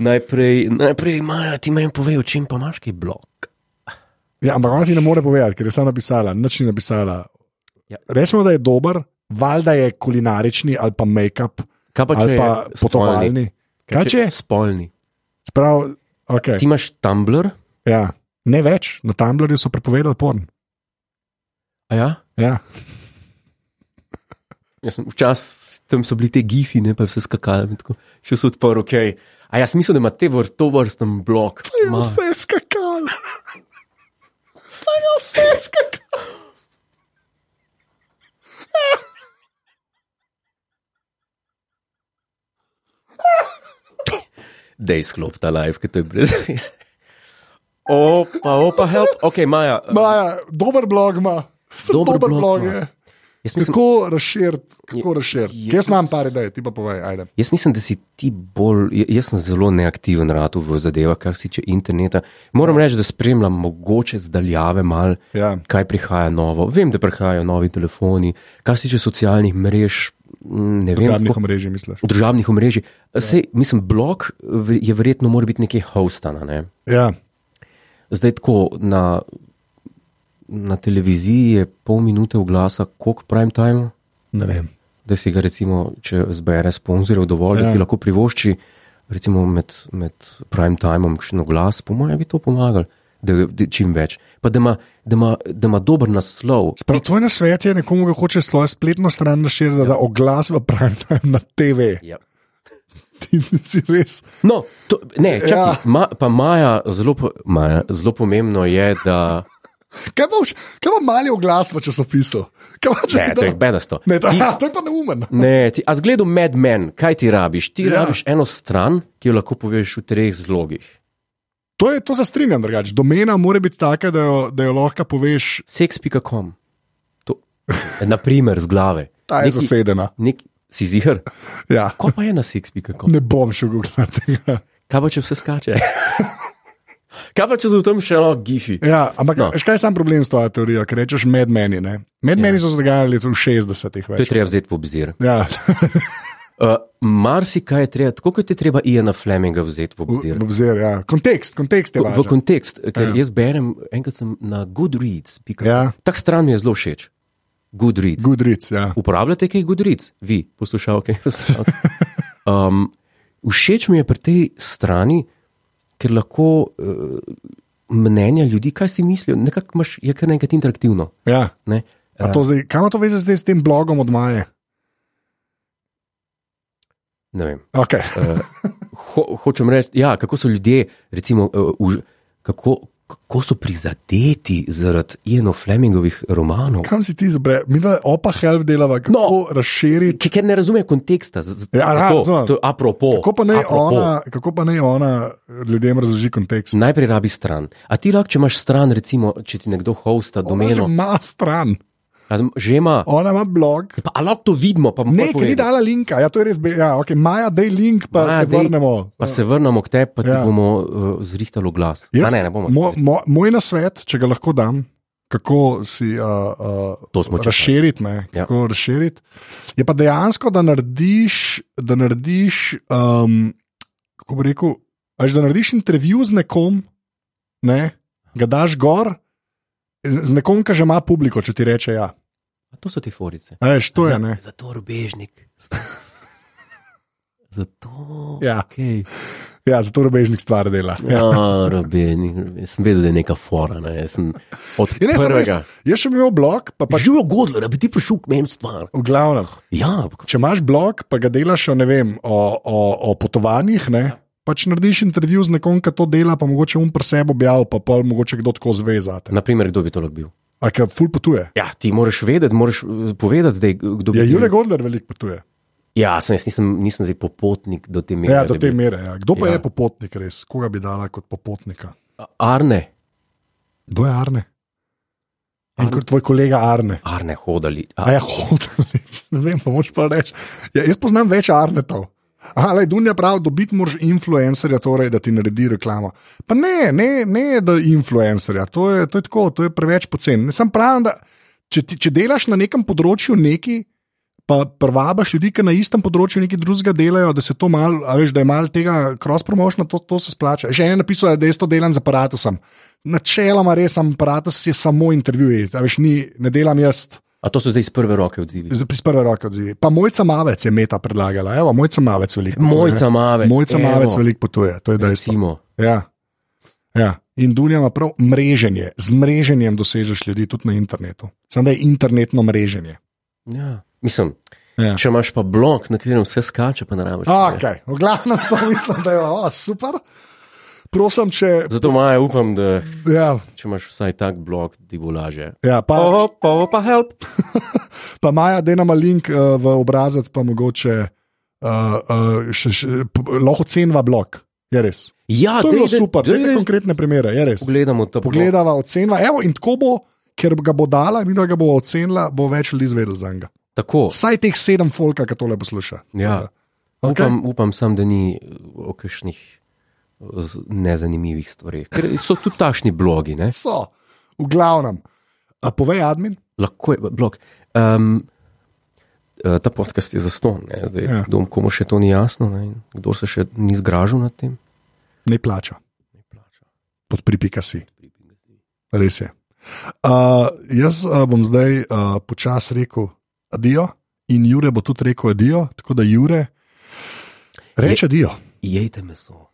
Speaker 1: najprej, najprej Maja, ti meni povej, o čem pa imaš ki blok.
Speaker 2: Ja, ampak ona ti ne more povedati, ker je sama napisala, nič ni napisala.
Speaker 1: Ja.
Speaker 2: Ja. Rečemo, da je dober, valjda je kulinarični ali pa make-up
Speaker 1: Kaj pa če
Speaker 2: ali pa
Speaker 1: je spolni?
Speaker 2: potovalni. Kaj če?
Speaker 1: Spolni.
Speaker 2: Sprav, okay,
Speaker 1: Ti imaš Tumblr,
Speaker 2: ja. Ne več, na Tumblrju so prepovedali porn.
Speaker 1: a ja?
Speaker 2: Ja.
Speaker 1: Jaz sem včasih tam so bili te gifi, ne pa vse skakali. Še so odprli, ok. A jaz mislim, da ima te vrst, to vrsten blok. Ma,
Speaker 2: Ja, je skakal. Pa je vse skakal.
Speaker 1: Dej sklop ta live, ki to je brez veze. Opa, opa, help. Ok, Maja. eh,
Speaker 2: Maja, dober blog ima. Sem
Speaker 1: Dober
Speaker 2: dober,
Speaker 1: blog
Speaker 2: dober blog
Speaker 1: ima.
Speaker 2: je.
Speaker 1: Jaz mislim,
Speaker 2: Kako razširiti, kako
Speaker 1: Je-
Speaker 2: razširiti.
Speaker 1: je-
Speaker 2: Jaz imam par idej, ti pa povej, ajde.
Speaker 1: Jaz mislim, da si ti bolj, j- jaz sem zelo neaktiven ratu v zadevah, kar se tiče interneta. Moram reči, da spremljam mogoče zdaljave mal,
Speaker 2: Ja.
Speaker 1: kaj prihaja novo. Vem, da prihajajo novi telefoni, kar se tiče socialnih mrež, m, ne vem,
Speaker 2: Družabnih
Speaker 1: Ja, tako-
Speaker 2: omrežij Ja. misliš.
Speaker 1: družabnih omrežij. Sej, mislim, blog v- je verjetno mora biti nekaj hostana. Ne?
Speaker 2: Ja.
Speaker 1: Zdaj tako na, na televiziji je pol minute oglasa, koliko prime time.
Speaker 2: Ne vem.
Speaker 1: da si ga, recimo, če zbere sponzorjev dovolj, ja. da
Speaker 2: Ja.
Speaker 1: si lahko privošči, recimo med, med prime timom, še na glas, po mojem, bi to pomagal, da, da čim več. Pa da ima, da ima, da ima dober naslov.
Speaker 2: Prav, tvoj nasvet je nekomu, ki hoče svojo spletno stran razširiti, da da oglas v prime time na TV.
Speaker 1: Ja.
Speaker 2: Ti si res.
Speaker 1: No, to, ne, čakaj, ja.
Speaker 2: Ja.
Speaker 1: ma, pa Maja, zelo, po, Maja, zelo pomembno je, da.
Speaker 2: Kaj pa, vš- kaj pa mali oglas v časopisu? Kaj pa, če
Speaker 1: Ne,
Speaker 2: kdo-
Speaker 1: to je bedasto.
Speaker 2: Ne, to, ja, to je pa neumen.
Speaker 1: Ne, ti, a zgledu Mad Men, kaj ti rabiš? Ti ja.
Speaker 2: Ja.
Speaker 1: rabiš eno stran, ki jo lahko poveš v treh zlogih.
Speaker 2: To, je, to se strinjam drugače. Domena mora biti taka, da jo, da jo lahko poveš,
Speaker 1: Sex.com. To- Naprimer, z glave.
Speaker 2: ta je
Speaker 1: Neki-
Speaker 2: zasedena.
Speaker 1: Nek, si zihar,
Speaker 2: Ja.
Speaker 1: ko pa je na sexpi.com?
Speaker 2: Ne bom šel googlati tega.
Speaker 1: Kaj pa če vse skače? Kaj pa če so v tem še eno gifi?
Speaker 2: Ja, ampak
Speaker 1: No.
Speaker 2: no. škaj je sam problem s to teorijo, ker rečeš med meni. Ne? Med ja. meni so se dogajali v 60-ih
Speaker 1: To je
Speaker 2: več.
Speaker 1: treba vzeti v obzir.
Speaker 2: Ja,
Speaker 1: Uh, Marsikaj je treba, tako kot je treba Iana Fleminga vzeti v obzir.
Speaker 2: v- obzir, ja. Kontekst, kontekst je
Speaker 1: V, v
Speaker 2: važen.
Speaker 1: kontekst, ker jaz berem, enkrat sem na Goodreads.
Speaker 2: Ja.
Speaker 1: Tak stran mi je zelo všeč. Goodreads.
Speaker 2: Good reads, ja.
Speaker 1: Uporabljate kaj Goodreads, vi, poslušalke. poslušalci? Um, všeč mi je pri tej strani, ker lahko uh, mnenja ljudi, kaj si mislijo, nekako imaš, je kar nekaj interaktivno.
Speaker 2: ja.
Speaker 1: Ne?
Speaker 2: A to Zdaj, kaj ima to veze zdaj s tem blogom od Maje?
Speaker 1: Eh, Ne vem.
Speaker 2: Okay.
Speaker 1: Uh, ho, hočem reči, ja, kako so ljudje, recimo, uh, už, kako, kako so prizadeti zaradi Ieno Flemingovih romanov.
Speaker 2: Kam si ti izbral? Mi dva opa help delava, kako no. razširiti.
Speaker 1: Ki- Ker ne razumejo konteksta, z- z-
Speaker 2: Ja, aha,
Speaker 1: zato,
Speaker 2: razumem.
Speaker 1: to je apropo.
Speaker 2: Kako pa, naj
Speaker 1: apropo.
Speaker 2: ona, kako pa naj ona ljudem razloži kontekst?
Speaker 1: Najprej rabi stran. A ti lahko, če imaš stran, recimo, če ti nekdo hosta
Speaker 2: Ona že
Speaker 1: domeno,
Speaker 2: ima stran,
Speaker 1: a da že ima.
Speaker 2: ona ima blog.
Speaker 1: Pa, a lahko to vidimo, pa
Speaker 2: Ne, ker
Speaker 1: pol povemo.
Speaker 2: ni dala linka, ja, to je res. Be, ja, okay. Maja, daj link, pa
Speaker 1: Maja,
Speaker 2: Maja, se
Speaker 1: daj-
Speaker 2: dej, vrnemo.
Speaker 1: Pa se vrnemo k tebi, pa ti ja.
Speaker 2: Ja.
Speaker 1: bomo uh, zrihtali glas.
Speaker 2: Jaz-
Speaker 1: Jaz, ne, ne bomo.
Speaker 2: Mo, mo, moj nasvet, če ga lahko dam, kako si uh,
Speaker 1: To smo
Speaker 2: uh,
Speaker 1: čakali.
Speaker 2: razširiti, ne,
Speaker 1: Ja.
Speaker 2: kako razširiti, je pa dejansko, da narediš, da narediš, um, kako bi rekel, až da narediš intervju z nekom, ne, ga daš gor. Z z nekom, ki že ima publiko, če ti reče ja.
Speaker 1: A to so te forice.
Speaker 2: A Veš,
Speaker 1: Ja.
Speaker 2: to je ne.
Speaker 1: Zato rubežnik. Zato.
Speaker 2: Ja.
Speaker 1: Okay.
Speaker 2: Ja, zato rebežnik stvar dela. Ja.
Speaker 1: Ja, rubežnik. Jaz sem vedel, da je neka fora. Ne. Jaz sem od
Speaker 2: Ja, ne, sem res,
Speaker 1: prvega.
Speaker 2: jaz sem imel blog, pa, pa
Speaker 1: Živo godlo, da bi ti prišel k meni v stvar.
Speaker 2: v glavnem.
Speaker 1: Ja, ampak-
Speaker 2: Če imaš blog, pa ga delaš o, ne vem, o, o, o potovanjih, ne? pač narediš intervju z nekom, ki to dela, pa mogoče um pre sebe objavi, pa pa mogoče kdo tako zvezate.
Speaker 1: naprimer, kdo bi to lahko bil?
Speaker 2: A ki ful potuje.
Speaker 1: Ja, ti moraš vedeti, moraš eh, povedati, zdaj, kdo bi
Speaker 2: Ja,
Speaker 1: bil.
Speaker 2: Jure Godler veliko potuje.
Speaker 1: Ja, sem jaz nisem, nisem zdaj popotnik do te mere.
Speaker 2: Ja, do
Speaker 1: da
Speaker 2: te
Speaker 1: bi-
Speaker 2: mere. Ja. Kdo pa
Speaker 1: Ja.
Speaker 2: ja. je popotnik res? Koga bi dala kot popotnika?
Speaker 1: Arne,
Speaker 2: Kdo je Arne? In kot tvoj kolega Arne.
Speaker 1: Arne hodali.
Speaker 2: A
Speaker 1: A,
Speaker 2: ja, hodalič, ne vem, pa moč pa reči. Ja, jaz poznam več Arnetov. Aha, le Dunja pravi, dobiti moraš influencerja, torej, da ti naredi reklamo. Pa ne, ne, ne, da influencerja, to je, to je tako, to je preveč poceni. Ne, Sam pravim, da če, ti, če delaš na nekem področju nekaj, pa privabiš ljudi, ki na istem področju nekaj drugega delajo, da se to malo, a veš, da je malo tega cross-promotion, to, to se splača. Že en napisal, da jaz to delam z aparatusom. Načeloma res sem aparatus, je samo intervjuji, a veš, ni, ne delam jaz.
Speaker 1: A to so zdaj iz prve roke odzivi.
Speaker 2: Z- Iz prve roke odzivi. Pa mojca Mavec je meta predlagala, evo, mojca Mavec veliko.
Speaker 1: Mojca Mavec,
Speaker 2: Mojca
Speaker 1: evo.
Speaker 2: Mavec veliko potuje, to je dejstvo.
Speaker 1: Recimo.
Speaker 2: Ja. Ja. In Dunja ima prav mreženje, z mreženjem dosežeš ljudi tudi na internetu. Samo da je internetno mreženje.
Speaker 1: Ja. Mislim,
Speaker 2: Ja.
Speaker 1: če imaš pa blog, na katerem vse skače, pa ne rabiš. tega.
Speaker 2: Okay. V glavnem to mislim, da je o, super. Prosim, če.
Speaker 1: Zato Maja upam, da
Speaker 2: Ja,
Speaker 1: če imaš vsaj tak blog, ti bo lažje.
Speaker 2: ja, pa,
Speaker 1: pa, pa help.
Speaker 2: pa Maja, da nam link uh, v obrazec, pa mogoče uh, uh, še, še, p- lahko ocenva blog. Je res.
Speaker 1: Ja,
Speaker 2: To je bilo
Speaker 1: daj, daj,
Speaker 2: super,
Speaker 1: daj,
Speaker 2: dajte
Speaker 1: daj,
Speaker 2: konkretne primere, je res.
Speaker 1: Pogledamo ta blog.
Speaker 2: Pogledava, ocenva, evo in tako bo, ker ga bo dala, in da ga bo ocenila, bo več ljudi izvedel za njega.
Speaker 1: Tako.
Speaker 2: Vsaj teh sedem folka, ki tole posluša.
Speaker 1: Ja.
Speaker 2: Okay.
Speaker 1: Upam, upam sam, da ni eh, o kakšnih eh, z- nezanimivih stvareh. Ker so tudi tašni blogi, ne?
Speaker 2: So, v glavnem. A povej, admin,
Speaker 1: lahko je blog. Um, ta podcast je zaston, ne? zdaj
Speaker 2: Ja.
Speaker 1: ja. dom, komu še to ni jasno, ne? in kdo se še ni zgražal nad tem.
Speaker 2: ne plača,
Speaker 1: Ne plača.
Speaker 2: podpripika si. Res je. Uh, jaz uh, bom zdaj uh, počasi rekel adijo, in Jure bo tudi rekel adijo, tako da Jure reče adijo.
Speaker 1: Jejte meso.